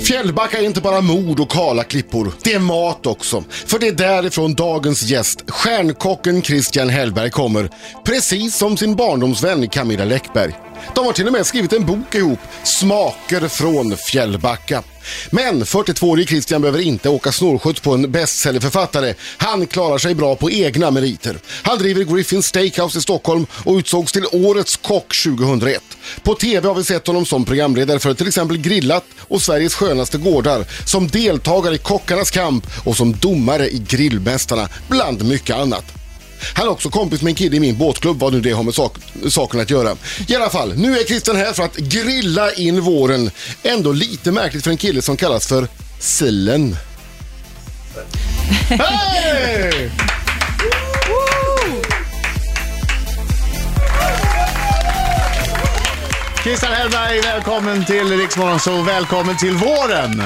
Fjällbacka är inte bara mord och kala klippor. Det är mat också. För det är därifrån dagens gäst, stjärnkocken Christian Hellberg kommer. Precis som sin barndomsvän Camilla Läckberg. De har till och med skrivit en bok ihop, Smaker från Fjällbacka. Men 42-årige Christian behöver inte åka snålskjuts på en bestsellerförfattare. Han klarar sig bra på egna meriter. Han driver Griffin Steakhouse i Stockholm och utsågs till Årets Kock 2001. På TV har vi sett honom som programledare för till exempel Grillat och Sveriges skönaste gårdar, som deltagare i Kockarnas kamp och som domare i Grillmästarna, bland mycket annat. Han är också kompis med en kille i min båtklubb, vad nu det har med sak saken att göra. I alla fall, nu är Christian här för att grilla in våren. Ändå lite märkligt för en kille som kallas för Sillen. Hej! Christian Hellberg, välkommen till Riksmorgon så välkommen till våren.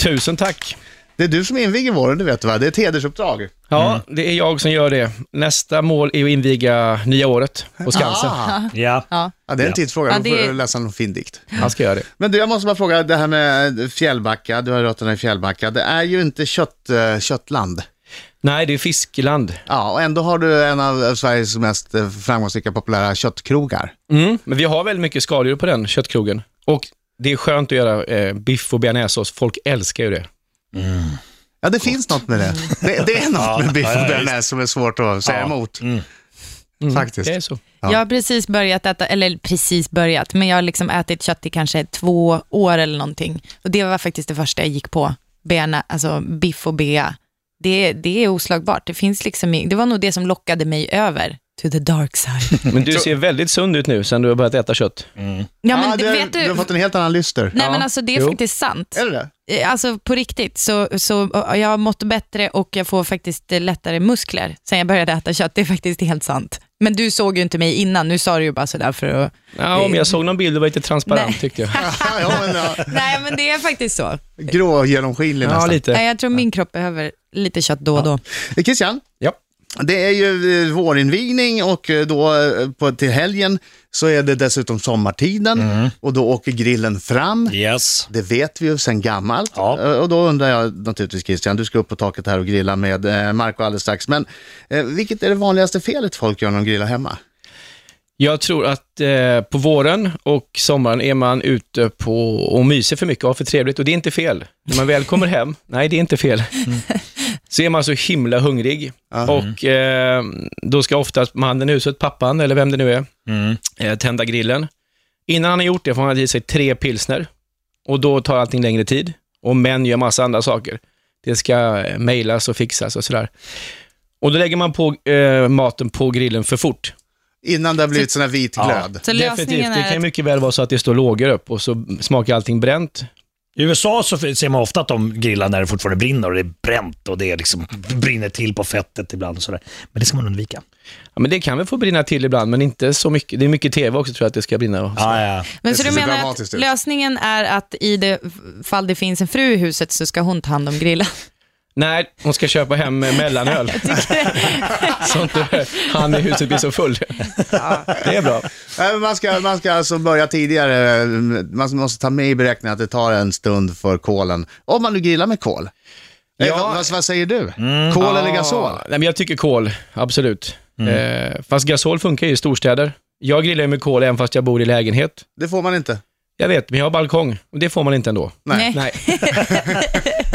Tusen tack. Det är du som inviger våren, det vet du va? Det är ett hedersuppdrag. Ja, det är jag som gör det. Nästa mål är att inviga nya året på Skansen. Ja. Ja, det är en Ja. tidsfråga, Ja, då får det- du läsa någon fin dikt. Han ska göra det. Men du, jag måste bara fråga, det här med Fjällbacka, du har rötterna i Fjällbacka, det är ju inte kött, eh, köttland. Nej, det är Fiskland. Ja, och ändå har du en av Sveriges mest eh, framgångsrika populära köttkrogar. Mm, men vi har väldigt mycket skaldjur på den köttkrogen. Och det är skönt att göra eh, biff och bearnaisesås. Folk älskar ju det. Ja, det finns något med det. Det, det är något med biff ja, ja, och visst. bearnaise som är svårt att säga Ja. emot. Mm. Mm, Faktiskt. Det är så. Ja. Jag har precis börjat äta, eller precis börjat, men jag har liksom ätit kött i kanske två år eller någonting. Och det var faktiskt det första jag gick på, bena, alltså biff och bea. Det, det är oslagbart, det finns liksom, i- det var nog det som lockade mig över to the dark side. Men du ser väldigt sund ut nu sen du har börjat äta kött. Ja men Ah, det, du, vet du, du har fått en helt annan lyster. nej Ja. men alltså det är Jo. faktiskt sant. Är det det? Eh, Alltså på riktigt, så, så eh, jag har mått bättre och jag får faktiskt eh, lättare muskler sen jag började äta kött, det är faktiskt helt sant. Men du såg ju inte mig innan, nu sa du ju bara sådär för att Ja, men jag såg någon bild och var lite transparent Nej. tyckte jag. Ja, ja, men, ja. Nej, men det är faktiskt så. Grå, genomskinlig Ja, nästan. lite. Nej, jag tror min kropp behöver lite kött då och då. Eh, Christian, Ja. det är ju eh, vårinvigning och eh, då eh, på, till helgen så är det dessutom sommartiden och då åker grillen fram. Mm. Yes. Det vet vi ju sedan gammalt. Ja. Eh, Och då undrar jag naturligtvis Christian, du ska upp på taket här och grilla med eh, Marco alldeles strax. Men eh, vilket är det vanligaste felet folk gör när de grillar hemma? Jag tror att eh, på våren och sommaren är man ute på och myser för mycket och har för trevligt och det är inte fel. När man väl kommer hem, nej det är inte fel, så är man så himla hungrig. Och eh, då ska oftast mannen i huset, pappan eller vem det nu är, eh, tända grillen. Innan han har gjort det får han ha i sig tre pilsner och då tar allting längre tid. Och män gör massa andra saker. Det ska eh, mejlas och fixas och sådär. Och då lägger man på eh, maten på grillen för fort. Innan det har blivit sån här vit Ja. glöd. Så lösningen Definitivt. Det är kan ju att, mycket väl vara så att det står lågor upp och så smakar allting bränt. I USA så ser man ofta att de grillar när det fortfarande brinner och det är bränt och det är liksom brinner till på fettet ibland och sådär. Men det ska man undvika. Ja, men det kan väl få brinna till ibland, men inte så mycket. Det är mycket tv också tror jag att det ska brinna. Och så. Ja, Ah, ja. men Det så du ser så menar dramatiskt att ut. lösningen är att i det fall det finns en fru i huset så ska hon ta hand om grillen? Nej, hon ska köpa hem eh, mellanöl. så inte han i huset blir så full. Det är bra. Nej, men Man ska, man ska alltså börja tidigare. Man måste ta med i beräkningen att det tar en stund för kolen. Om man nu grillar med kol. Ja. Ja. Mm. vad, vad säger du? Kol eller gasol? Mm. Ja, Nej, men jag tycker kol, absolut. Eh, fast gasol funkar ju i storstäder. Jag grillar ju med kol även fast jag bor i lägenhet. Det får man inte. Jag vet, men jag har balkong och det får man inte ändå. Nej. Nej.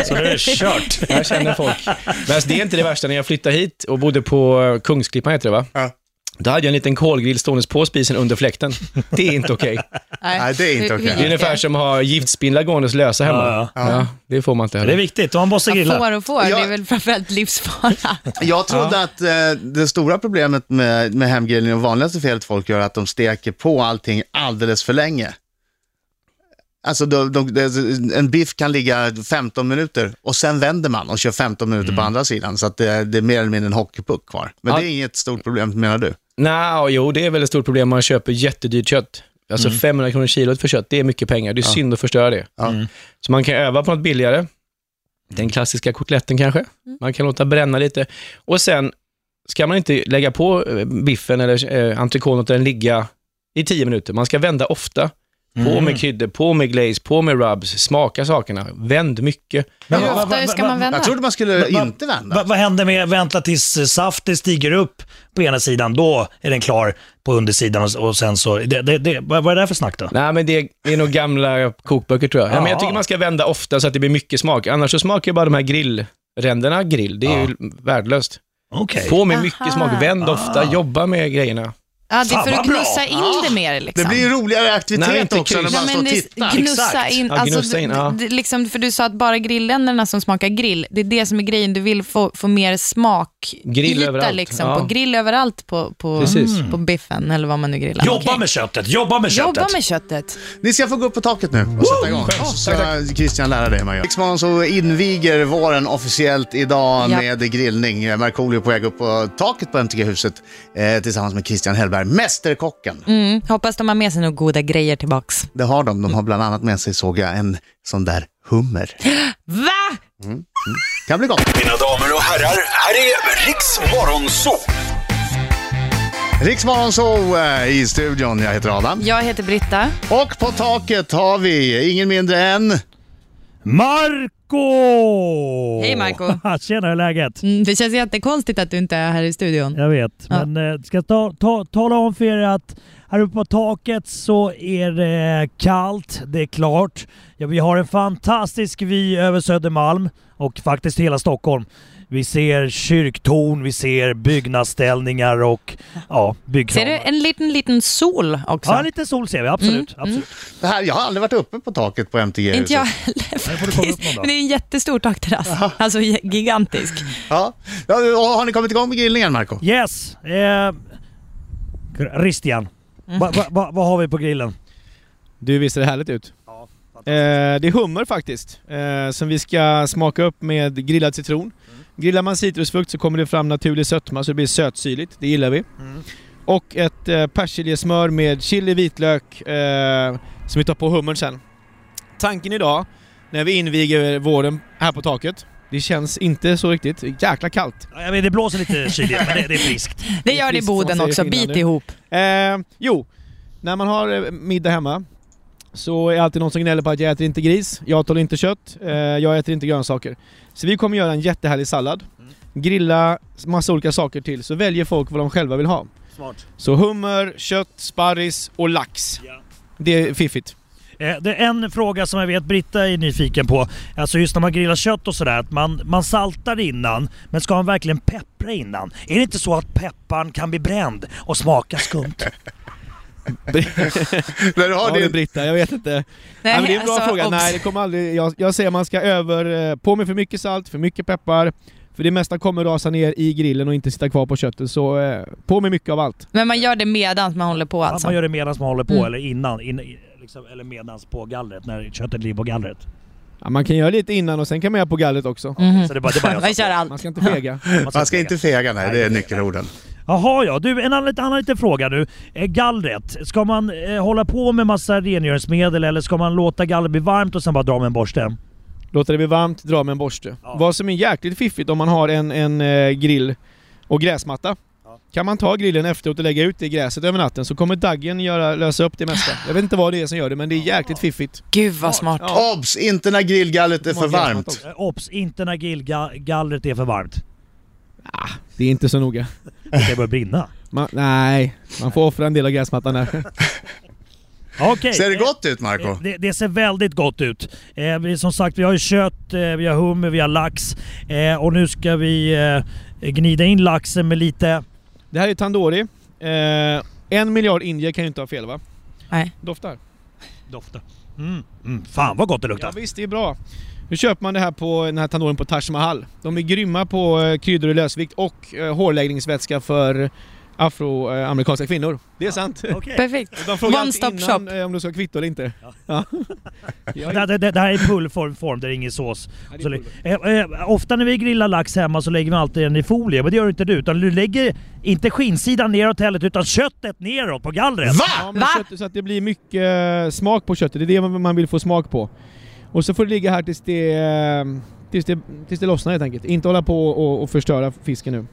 Så det är kört. Jag känner folk. Men alltså, det är inte det värsta. När jag flyttade hit och bodde på eh, Kungsklippan, heter det va? Ja. Då hade jag en liten kolgrill ståendes på spisen under fläkten. Det är inte okej. Nej, det är inte Hur- okej. hur Det Det är gick ungefär som att ha giftspindlar gåendes lösa hemma. Ja, ja. det får man inte Det är heller. viktigt och man måste Ja, grilla. Får och får, det Ja. är väl framförallt livsfara. Jag trodde att eh, det stora problemet med, med hemgrillning och vanligaste felet folk gör är att de steker på allting alldeles för länge. Alltså de, de, det- en biff kan ligga 15 minuter och sen vänder man och kör 15 minuter på andra sidan. Så att det, det är mer eller mindre en hockeypuck kvar. Men Mm. Ja. det är inget stort problem menar du? Nej, jo, det är väl ett stort problem. Man köper jättedyrt kött. Alltså 500 kronor kilot för kött, det är mycket pengar. Det är synd att förstöra det. Ja. Så man kan öva på något billigare. Den klassiska kotletten kanske. Man kan låta bränna lite. Och sen ska man inte lägga på eh, biffen eller eh, entrecote och låta den ligga i 10 minuter. Man ska vända ofta. Mm. På Mm. med kryddor, på med glaze, på med rubs, smaka sakerna, vänd mycket. Men Hur vad- ofta vad- ska vad- man vända? Jag trodde man skulle vad- inte vända. Vad, vad händer med vänta tills eh, saften stiger upp på ena sidan, då är den klar på undersidan och, och sen så, det, det, det, vad, vad är det där för snack då? Nej, men det är, det är nog gamla kokböcker tror jag. Ja, men jag Ja. tycker man ska vända ofta så att det blir mycket smak. Annars så smakar ju bara de här grillränderna grill. Det är ju värdelöst. Okej. På med Aha. mycket smak, vänd ofta, jobba med grejerna. Ja, det är för Fan, att vad bra. gnussa in det mer liksom. Det blir ju roligare aktivitet Nej, inte också när kryss. Ja, man står men och det, tittar. gnussa Exakt. in, Ja, alltså, gnussa in, ja. d- d- liksom, för du sa att bara grilländerna som smakar grill, det är det som är grejen, du vill få, få mer smak Grill yta, överallt, Liksom, ja. på grill överallt på, på, Precis. på biffen eller vad man nu grillar. Jobba Okej. med köttet, jobba med köttet. Jobba med köttet. Ni ska få gå upp på taket nu och sätta igång. Själv. Så ska Christian lära dig hur man gör. Riksmorgon så inviger våren officiellt idag Ja. med grillning. Markoolio är på väg upp på taket på MTG-huset eh, tillsammans med Christian Hellberg, mästerkocken. Mm, hoppas de har med sig några goda grejer tillbaks. Det har de. De har bland annat med sig, såg jag, en sån där hummer. Va? Kan bli gott. Mina damer och herrar, här är Riks Morgonzoo! Riksmorgon så eh, i studion. Jag heter Adam. Jag heter Britta. Och på taket har vi ingen mindre än... Marco! Hej, Marco. Tjena, hur är läget? Mm, det känns jättekonstigt att du inte är här i studion. Jag vet, Ja. men eh, ska jag ta, ta, tala om för er att här uppe på taket så är det kallt, det är klart. Ja, vi har en fantastisk vy över Södermalm och faktiskt hela Stockholm. Vi ser kyrktorn, vi ser byggnadsställningar och ja, Ser byggkranar. du en liten, liten sol också? Ja, lite sol ser vi, absolut. Mm. absolut. Det här, jag har aldrig varit uppe på taket på MTG-huset. Inte jag heller får du komma upp faktiskt. någon dag. Men det är en jättestor takterrass. Alltså gi- gigantisk. Ja. Ja, och har ni kommit igång med grillningen, Marco? Mm. Yes! Eh, Christian, Mm. va, va, va, vad har vi på grillen? Du, visst ser det härligt ut? Eh, det är hummer faktiskt, eh, som vi ska smaka upp med grillad citron. Grillar man citrusfrukt så kommer det fram naturlig sötma så det blir sötsyrligt, det gillar vi. Och ett eh, persiljesmör med chili, vitlök, eh, som vi tar på hummern sen. Tanken idag, när vi inviger våren här på taket, det känns inte så riktigt, Det är jäkla kallt. Ja, jag vet, det blåser lite kyligt, men det, det är friskt. Det gör det i Boden också, bit ihop. Eh, jo, när man har eh, middag hemma så är det alltid någon som gnäller på att jag äter inte gris, jag tål inte kött, eh, jag äter inte grönsaker. Så vi kommer göra en jättehärlig sallad, grilla massa olika saker till, så väljer folk vad de själva vill ha. Smart. Så hummer, kött, sparris och lax. Ja. Det är fiffigt. Eh, det är en fråga som jag vet Britta är nyfiken på. Alltså just när man grillar kött och sådär, att man, man saltar innan, men ska man verkligen peppra innan? Är det inte så att pepparn kan bli bränd och smaka skumt? När du har Ja, din det är Britta, jag vet inte. Nej, men det är en bra alltså, fråga. obs. Nej, det kommer aldrig... Jag, jag säger man ska över... eh, På med för mycket salt, för mycket peppar. För det mesta kommer rasa ner i grillen och inte sitta kvar på köttet, så eh, på med mycket av allt. Men man gör det medan man håller på Att alltså. man gör det medan man håller på, Mm. eller innan, in, i- liksom, eller medans på gallret, när köttet ligger på gallret. Ja, man kan göra lite innan och sen kan man göra på gallret också. Mhm. Så det är bara, det är bara jag Man som- kör allt. Man ska inte fega. Man ska inte fega, nej. Det är Nej, nej. nyckelorden. Jaha ja, du en annan, annan liten fråga nu. Eh, Gallret, ska man eh, hålla på med massa rengöringsmedel eller ska man låta gallret bli varmt och sen bara dra med en borste? Låta det bli varmt, dra med en borste. Ja. Vad som är jäkligt fiffigt om man har en, en eh, grill och gräsmatta. Kan man ta grillen efteråt och lägga ut det i gräset över natten så kommer daggen göra, lösa upp det mesta. Jag vet inte vad det är som gör det men det är jäkligt fiffigt. Gud vad smart. Ja. Obs! Inte när grillgallret är för Många gräsmatta varmt. också. Eh, Obs, inte när grillga- gallret är för varmt. Det är inte så noga. Det börjar brinna. Man, nej, man får offra en del av gräsmattan där. Okej. Ser det eh, gott ut, eh, Marco? Det, det ser väldigt gott ut. Eh, vi, som sagt, vi har ju kött, eh, vi har hummer, vi har lax. Eh, och nu ska vi eh, gnida in laxen med lite... Det här är tandoori. Eh, en miljard indier kan ju inte ha fel va? Nej. Doftar. Dofta. Mm. Mm, fan vad gott det luktar. Ja, visst, det är bra. Nu köper man det här på den här tandoorin på Taj Mahal. De är grymma på eh, kryddor i lösvikt och eh, hårläggningsvätska för eh, afroamerikanska kvinnor. Det är sant. Okej. Perfekt. De frågar One alltid stop innan shop. eh, om du ska ha kvitto eller inte. Ja. Jag Det, är- det, det, det här är pullform, form, det är ingen sås. Ja, det är Så, pulver. eh, eh, ofta när vi grillar lax hemma så lägger vi alltid den i folie, men det gör inte du. Utan du lägger inte skinnsidan neråt heller, utan köttet neråt på gallret. Ja, Va? men Va? kött, så att det blir mycket eh, smak på köttet. Det är det man man vill få smak på. Och så får det ligga här tills det, eh, tills det, tills det lossnar helt enkelt. Inte hålla på och, och förstöra fisken nu.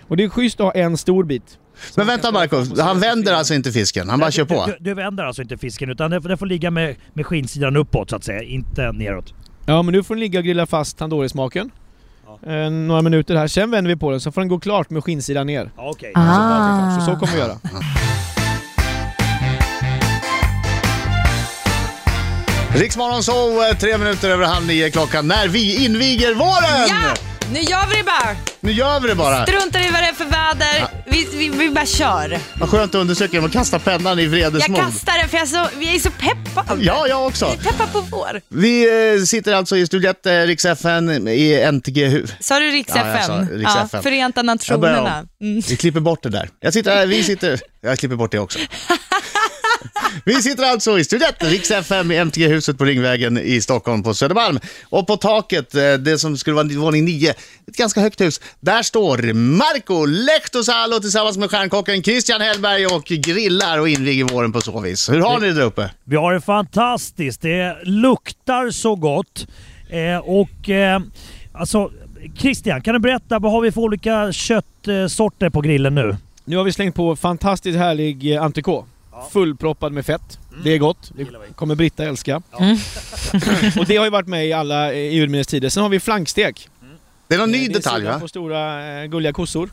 Och det är schysst att ha en stor bit. Men vänta Marco, han vänder alltså inte fisken? Han bara kör på? Du, du vänder alltså inte fisken utan den får, den får ligga med, med skinsidan uppåt så att säga, inte neråt. Ja, men nu får den ligga och grilla fast tandoori-smaken. Eh, några minuter här, sen vänder vi på den så får den gå klart med skinnsidan ner. Ja, Okej. Ah. Så, så kommer vi göra. Riksmorgon så eh, tre minuter över halv nio klockan när vi inviger våren! Ja! Nu gör vi det bara! Nu gör vi det bara! Struntar i vad det är för väder. Vi, vi, vi bara kör. Vad skönt att undersöka genom att kasta pennan i Jag vredesmod. kastar den för jag är så, jag är så peppad. Ja, jag också. Jag är peppad på vår. Vi eh, sitter alltså i Studio 1, eh, Rix FN, i NTG. Sa du Riks Ja, jag FM? sa Rix FM. Förenta Jag börjar Nationerna. om. Mm. Vi klipper bort det där. Jag sitter, eh, vi sitter... Jag klipper bort det också. Vi sitter alltså i Studio 1, Rix FM, i MTG-huset på Ringvägen i Stockholm på Södermalm. Och på taket, eh, det som skulle vara våning 9, ett ganska högt hus, där står Marco Lehtosalo tillsammans med stjärnkocken Christian Hellberg och grillar och inviger våren på så vis. Hur har ni det där uppe? Vi har det fantastiskt. Det luktar så gott. Eh, och eh, alltså, Christian, kan du berätta vad har vi för olika köttsorter på grillen nu? Nu har vi slängt på fantastiskt härlig eh, entrecote. Fullproppad med fett. Det är gott. Det kommer Britta älska. och det har ju varit med i alla eh, i urminnes tider. Sen har vi flankstek. Det är någon ny det är detalj sidan va? på stora eh, gulliga kossor.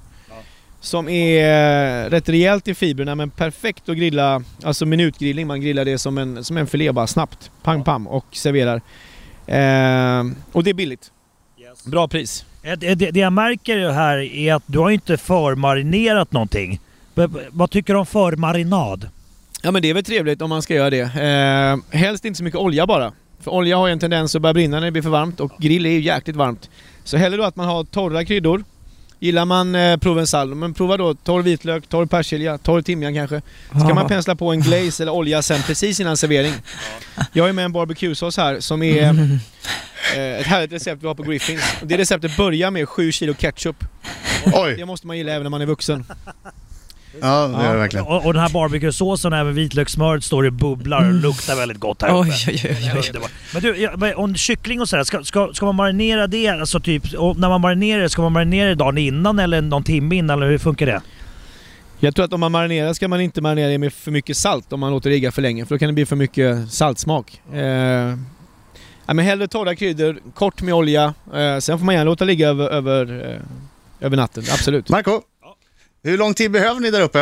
Som är eh, rätt rejält i fibrerna men perfekt att grilla, alltså minutgrillning. Man grillar det som en, som en filé bara snabbt. Pang pam och serverar. Eh, och det är billigt. Bra pris. Eh, Det, det, det jag märker här är att du har ju inte förmarinerat någonting. B- b- vad tycker du om förmarinad? Ja men det är väl trevligt om man ska göra det. Eh, helst inte så mycket olja bara. För olja har ju en tendens att börja brinna när det blir för varmt och grill är ju jäkligt varmt. Så hellre då att man har torra kryddor. Gillar man eh, provensal, men prova då torr vitlök, torr persilja, torr timjan kanske. Ska man pensla på en glaze eller olja sen precis innan servering. Jag har ju med en barbecuesås här som är eh, ett härligt recept vi har på Griffins. Det receptet börjar med 7 kilo ketchup. Det Oj! måste man gilla även när man är vuxen. Ja, det gör det verkligen. Och, och den här barbecuesåsen och även vitlökssmöret står i bubblar och luktar väldigt gott här uppe. Mm. Oj, oj, oj. oj. Underbart. Men du, ja, men om kyckling och sådär, ska, ska, ska man marinera det? Alltså typ, och när man marinerar det, ska man marinera det dagen innan eller någon timme innan? Eller hur funkar det? Jag tror att om man marinerar ska man inte marinera det med för mycket salt om man låter det ligga för länge för då kan det bli för mycket saltsmak. Eh, ja, men hellre torra kryddor, kort med olja, eh, sen får man gärna låta ligga över, över, eh, över natten, absolut. Marco, hur lång tid behöver ni där uppe?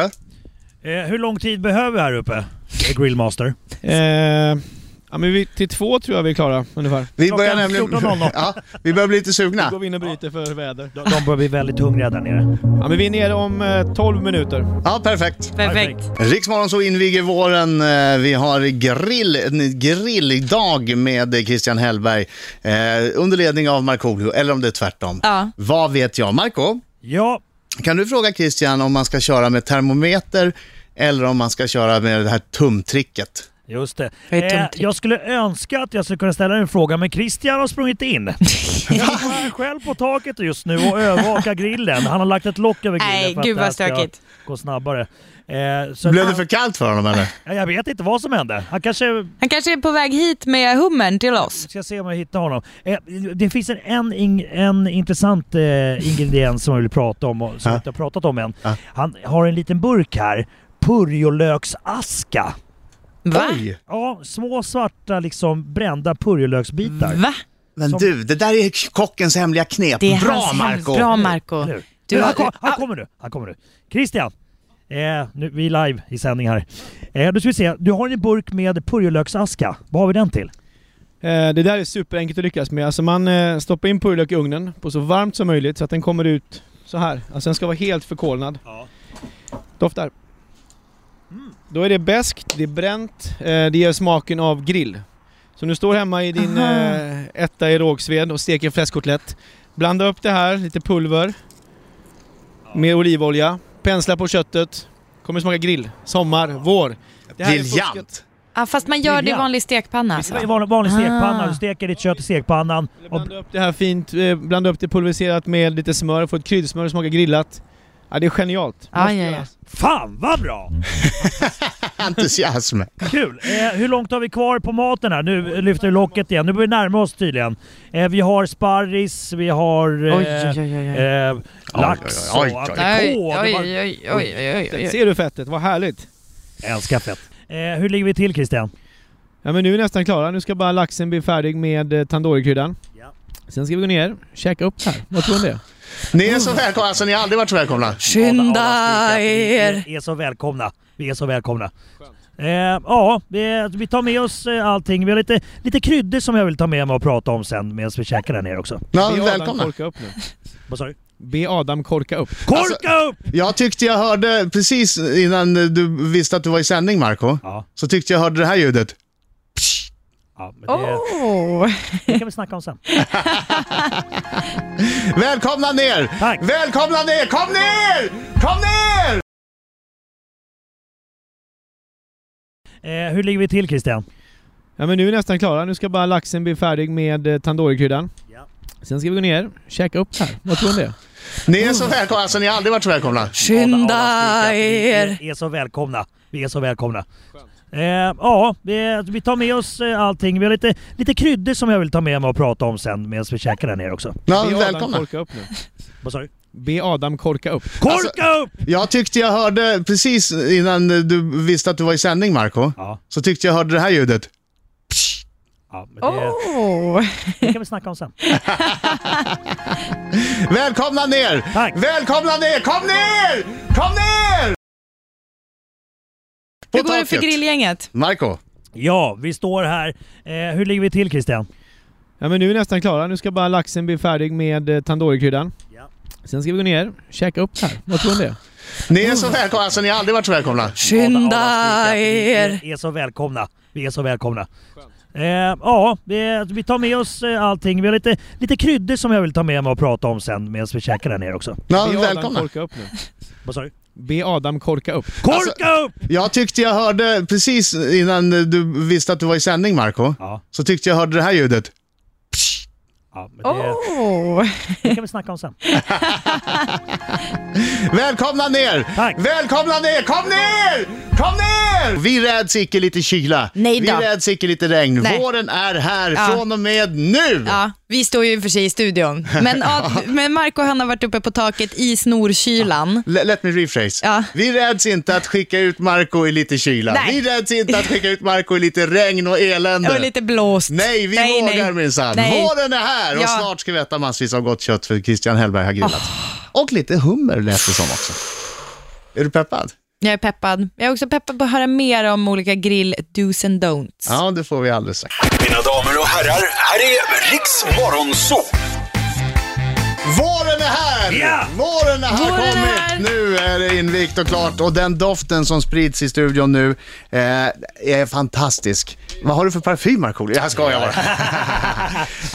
Eh, hur lång tid behöver vi här uppe? Eh, Grillmaster. Eh, ja, men vi, till två tror jag vi är klara ungefär. Vi Klockan 14.00. ja, vi börjar bli lite Då sugna. går vi in och bryter för väder. De, de börjar bli väldigt hungriga där nere. Ja, men vi är nere om eh, 12 minuter. Ja, perfekt. Perfekt. Riksmorgon så inviger våren. Eh, Vi har grill, en grilldag med Christian Hellberg eh, under ledning av Markoolio, eller om det är tvärtom. Ja. Vad vet jag? Marco, Ja, kan du fråga Christian om man ska köra med termometer eller om man ska köra med det här tumtricket? just det. Eh, Vad är tumtrick? jag skulle önska att jag skulle kunna ställa en fråga, men Christian har sprungit in. Han är själv på taket just nu och övervakar grillen. Han har lagt ett lock över grillen Nej, för att gud det här vad ska stökigt. gå snabbare. Eh, så Blev det för kallt för honom eller? Ja, Jag vet inte vad som hände. Han kanske Han kanske är på väg hit med hummern till oss. Ska se om jag hittar honom. Eh, det finns en, en, ing- en intressant eh, ingrediens som jag vill prata om, och som jag inte har pratat om än. Ja. Han har en liten burk här, purjolöksaska. Va? Oj! Ja, små svarta liksom brända purjolöksbitar. Va? Men du, det där är kockens hemliga knep. Det är Bra hans hem- Marco! Bra Marco. Nu. Du han, har, kom, han kommer nu, han kommer nu. Christian! Eh, nu, vi är live i sändning här. Eh, nu ska vi se, du har en burk med purjolöksaska. Vad har vi den till? Eh, Det där är superenkelt att lyckas med. Alltså man eh, stoppar in purjolök i ugnen på så varmt som möjligt så att den kommer ut så här. Alltså den ska vara helt förkolnad. Ja. Doftar. Då är det beskt, det är bränt, eh, det ger smaken av grill. Så nu står hemma i din Aha. eh, etta i rågsved och steker fläskkotlett. Blanda upp det här, lite pulver. Med olivolja. Pensla på köttet. Kommer smaka grill. Sommar, vår. Det här är fusket. Briljant! ja, fast man gör det i Vilja. vanlig stekpanna alltså. I vanlig, vanlig Ah. stekpanna, du steker ditt kött i stekpannan. Eller Och, Blanda upp det här fint, eh, blanda upp det pulveriserat med lite smör, få ett kryddsmör som smakar grillat. Ja, det är genialt. Ja, ja, ja. Fan vad bra! Entusiasm. Kul! Eh, hur långt har vi kvar på maten här? Nu lyfter vi locket igen. Nu börjar vi närma oss tydligen. Eh, vi har sparris, vi har eh, Oj, oj, oj, oj. oj. eh, lax och Oj, oj, oj. Oj, entrecote. oj, Var... oj, oj, oj, oj, oj. Ser du fettet? Vad härligt. Älskar fett. Eh, hur ligger vi till Christian? Ja men nu är vi nästan klara. Nu ska bara laxen bli färdig med eh, tandoorikryddan. Ja. Sen ska vi gå ner, käka upp här. Vad tror du om det? Ni är Mm. så välkomna, alltså ni har aldrig varit så välkomna. Skynda er! Vi är så välkomna. Vi är så välkomna. Eh, ja, vi, vi tar med oss eh, allting. Vi har lite, lite kryddor som jag vill ta med mig och prata om sen medan vi käkar där nere också. Ja, Be Adam välkomna. korka upp nu. Vad sa du? Be Adam korka upp. Korka Alltså- upp! Jag tyckte jag hörde, precis innan du visste att du var i sändning Marco Ja, så tyckte jag hörde det här ljudet. ja men det, Oh. det kan vi snacka om sen. Välkomna ner! Tack! Välkomna ner! Kom ner! Kom ner! Eh, hur ligger vi till Christian? Ja men nu är vi nästan klara. Nu ska bara laxen bli färdig med eh, tandoorikryddan. Ja. Sen ska vi gå ner, käka upp här. Vad tror du om det? Ni är Mm. så välkomna, alltså ni har aldrig varit så välkomna. Skynda er! Vi är så välkomna. Vi är så välkomna. Eh, ja, vi, vi tar med oss eh, allting. Vi har lite, lite kryddor som jag vill ta med mig och prata om sen medan vi käkar där nere också. Ja, Be Adam välkomna. korka upp nu. Vad sa du? Be Adam korka upp. Korka upp! Jag tyckte jag hörde, precis innan du visste att du var i sändning Marco Ja, så tyckte jag hörde det här ljudet. ja men det, Oh. det kan vi snacka om sen. Välkomna ner! Tack! Välkomna ner! Kom ner! Kom ner! Hur går det för taket. grillgänget? Marco Ja, vi står här. Eh, hur ligger vi till Christian? Ja men nu är vi nästan klara. Nu ska bara laxen bli färdig med eh, tandoorikryddan. Ja. Sen ska vi gå ner, käka upp här. Vad tror du om det? ni är så välkomna, alltså ni har aldrig varit så välkomna. Skynda er! Vi är så välkomna. Vi är så välkomna. Eh, ja, vi, vi tar med oss eh, allting. Vi har lite, lite kryddor som jag vill ta med mig och prata om sen medan vi käkar där nere också. Ja, Be Adam välkomna. korka upp nu. Vad sa du? Be Adam korka upp. Korka upp! Jag tyckte jag hörde, precis innan du visste att du var i sändning Marco Ja, så tyckte jag hörde det här ljudet. ja men det, Oh. det kan vi snacka om sen. Välkomna ner! Tack! Välkomna ner! Kom ner! Kom ner! Vi räds icke lite kyla. Nej Vi då. räds icke lite regn. Nej. Våren är här Ja. från och med nu! Ja, vi står ju i och för sig i studion, men, Ad, men Marco han har varit uppe på taket i snorkylan. L- Let me rephrase. Ja. Vi räds inte att skicka ut Marco i lite kyla. Nej. Vi räds inte att skicka ut Marco i lite regn och elände. Och lite blåst. Nej, vi vågar minsann. Nej. Våren är här och Ja. snart ska vi äta massvis av gott kött för Christian Hellberg har grillat. Och lite hummer lät det som också. Är du peppad? Jag är peppad. Jag är också peppad på att höra mer om olika grill do's and don'ts. Ja, det får vi alldeles strax. Mina damer och herrar, här är Riks Morgonzoo! Våren är här! Ja! Våren är här Våren är kommit! här! Nu är det invigt och klart och den doften som sprids i studion nu eh, är fantastisk. Vad har du för parfym Markoolio? Jag skojar bara.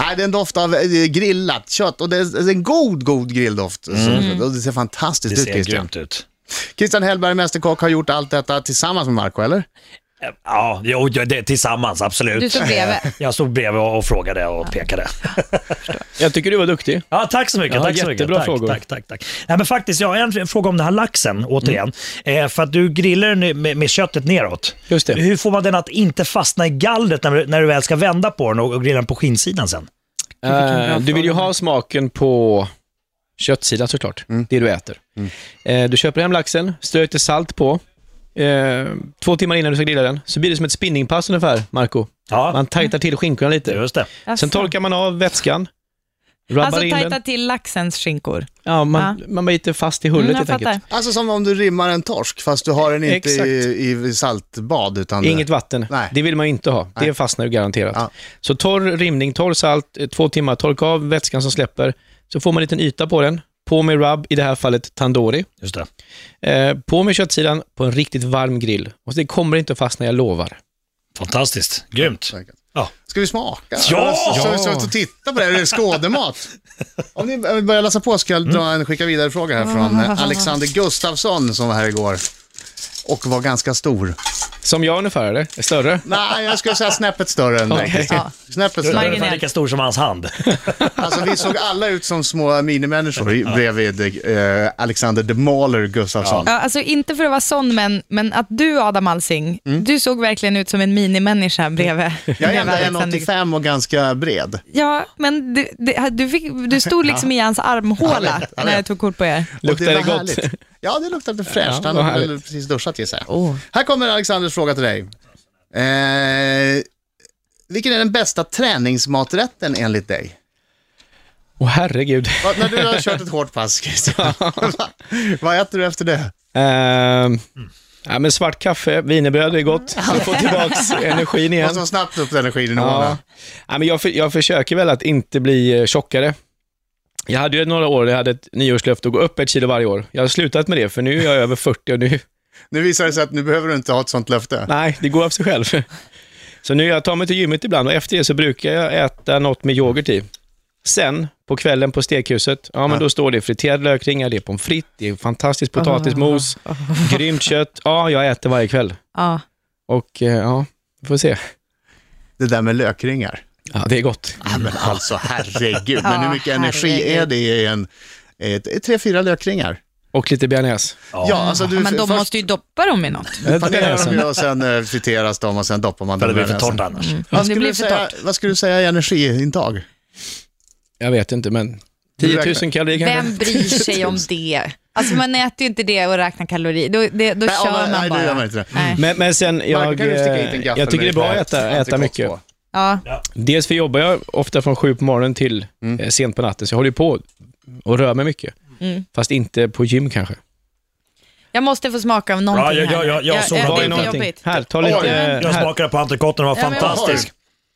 Nej, det är en doft av eh, grillat kött och det är det är en god, god grilldoft. Så, och det ser fantastiskt ut Christian. ut. Christian Hellberg, Mästerkock, har gjort allt detta tillsammans med Marco, eller? Ja, jo, ja, det, tillsammans absolut. Du stod bredvid. Jag stod bredvid och och frågade och pekade. Jag tycker du var duktig. Ja, tack så mycket. Ja, tack så mycket. jättebra Tack, frågor. Tack, tack, tack. Nej, men faktiskt, jag har en fråga om den här laxen, återigen. Eh, för att du grillar den med, med köttet neråt. Just det. Hur får man den att inte fastna i gallret när, du- när du väl ska vända på den och, och grilla den på skinsidan sen? Eh, du vill ju ha smaken på köttsidan såklart, det du äter. Eh, du köper hem laxen, strö lite salt på. Eh, två timmar innan du ska grilla den, så blir det som ett spinningpass ungefär, Marco. Ja, Man tajtar till skinkorna lite. just det. Sen torkar man av vätskan. Rabbar Alltså in tajta den. till laxens skinkor. Ja, man, man biter fast i hullet Mm, jag helt enkelt. fattar. Alltså som om du rimmar en torsk, fast du har den inte Exakt. i, i saltbad. Utan eh, Inget vatten. Nej. Det vill man ju inte ha. Nej. Det fastnar ju garanterat. Ja. Så torr rimning, torr salt, eh, två timmar, torka av vätskan som släpper. Så får man en liten yta på den. På med rub, i det här fallet tandoori. Just det. Eh, på med köttsidan på en riktigt varm grill. Och det kommer inte att fastna, jag lovar. Fantastiskt. Grymt. Säkert. Ja. Ska vi smaka? Alltså, Ja! Så, så, så, så titta på det här, det är skådemat. Om ni börjar eh, läsa på ska jag dra en skicka vidare-fråga här från eh, Alexander Gustafsson som var här igår. och var ganska stor. Som jag ungefär, eller? Är Större? Nej, jag skulle säga snäppet större än dig. Christer. Ja. Snäppet Du är större. ungefär lika stor som hans hand. Alltså, vi såg alla ut som små minimänniskor i- bredvid eh, Alexander De Maler Gustafsson. Ja, alltså inte för att vara sån, men, men att du Adam Alsing, du såg verkligen ut som en minimänniska bredvid. Mm. Jag är bredvid ändå Alexander. 1,85 och ganska bred. liksom. Ja, men du, du, du, fick, du stod liksom i hans armhåla Jag vet, jag när jag vet. tog kort på er. Och Luktar det var gott? härligt. Ja, det luktar lite fräscht. Ja, Han vad har väl härligt. precis duschat gissar jag. Oh. Här kommer Alexanders fråga till dig. Eh, vilken är den bästa träningsmaträtten enligt dig? Åh herregud. Va, när du har kört ett hårt pass, Christian, va- vad äter du efter det? Mm. Ehm, ja, men svart kaffe, wienerbröd är gott. Så får tillbaks energin igen. Vad som snabbt upp energinivåerna. Ja. Ja, men jag, för, jag försöker väl att inte bli eh, tjockare. Jag hade ju några år där jag hade ett nyårslöfte att gå upp ett kilo varje år. Jag har slutat med det, för nu är jag över 40 och nu, Nu visar det sig att nu behöver du inte ha ett sånt löfte. nej, det går av sig själv. Så nu, jag tar mig till gymmet ibland och efter det så brukar jag äta något med yoghurt i. Sen, på kvällen på stekhuset, ja Ah. men Ja. då står det friterad lökringar, det är pommes frites, det är fantastisk potatismos, grymt kött. Ja, jag äter varje kväll. Ja. Och eh, ja, vi får se. Det där med lökringar. Ja, det är gott. Ja, men alltså herregud, men hur mycket Ja, energi är herregud. det i en, ett, ett, tre, fyra lökringar? Och lite bearnaise. Ja, alltså du, men de först måste ju doppa dem i något. Eh, panerar de ju och sen eh, friteras de och sen doppar man För det dem blir i för näsan. torrt annars. Om Vad det skulle, blir du för säga, torrt. vad skulle du säga i energiintag? Jag vet inte, men Du 10 räknar. 000 kalorier kanske. Vem bryr sig om det? Alltså man äter ju inte det och räknar kalorier. Då, det, då Nej, kör ja, men- man nej, bara. det gör man inte Mm. det. Nej. Men, men sen, Marco, jag, kan du sticka hit en eh, gaffel jag tycker det med är bra att lite äta, äta antikroppsvård? mycket. Ja. Dels för jobbar jag ofta från sju på morgonen till Mm. eh, sent på natten, så jag håller ju på och rör mig mycket. Mm. Fast inte på gym kanske. Jag måste få smaka av någonting Ja, jag- jag- jag- jag här. såg det någonting. är för någonting. jobbigt. Här, ta Oj, lite... eh, jag Jag här. smakade på antikotterna, den var Ja, men- fantastisk.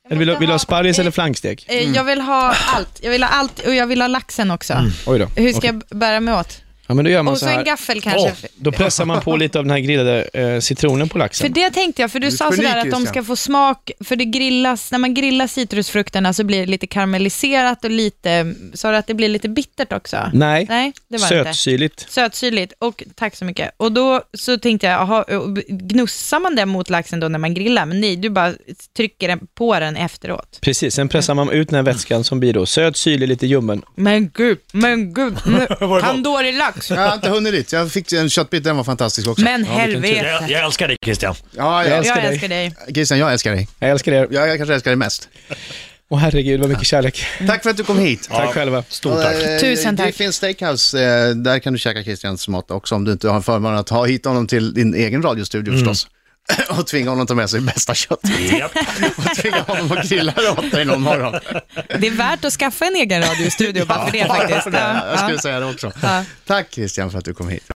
Eller vill, du, vill du ha sparris eller Eh, flankstek? eh, Mm. Jag vill ha allt. Jag vill ha allt och jag vill ha laxen också. Oj då. Hur ska Okej. jag bära mig åt? Ja, men då gör man Och så så en här. gaffel kanske. Åh. För- Då pressar man på lite av den här grillade eh, citronen på För laxen. det tänkte jag, för du Du är sa ett geni, sådär att de Christian. ska få smak, för det grillas, när man grillar citrusfrukterna så blir det lite karamelliserat och lite, sa du att det blir lite bittert också? Nej, Nej, det var det inte. sötsyrligt. Sötsyrligt, och tack så mycket. Och då så tänkte jag, aha, och gnussar man det mot laxen då när man grillar? Men nej, du bara trycker den på den efteråt. Precis, sen pressar man ut den här vätskan som blir då söt, syrlig, lite ljummen. Men gud, men gud, gott? tandoori-lax. Jag har inte hunnit dit. Jag fick en köttbit, den var fantastisk också. Men Jag, helvete. jag älskar dig Christian. Ja, Jag jag, Jag älskar dig. älskar dig. Christian, jag älskar dig. Jag älskar er. Jag, jag kanske älskar dig mest. Åh herregud, vad mycket kärlek. Tack för att du kom hit. Tack själva. Stort tack. Eh, Tusen tack. Det finns steakhouse, eh, där kan du käka Christians mat också om du inte har förmånen att ha hit honom till din egen radiostudio förstås. Och tvinga honom att ta med sig bästa köttet. Japp. Och tvinga honom att grilla det åt dig någon morgon. Det är värt att skaffa en egen radiostudio bara för det faktiskt. Ja, Ja, jag skulle ja. säga det också. Ja. Tack Christian för att du kom hit.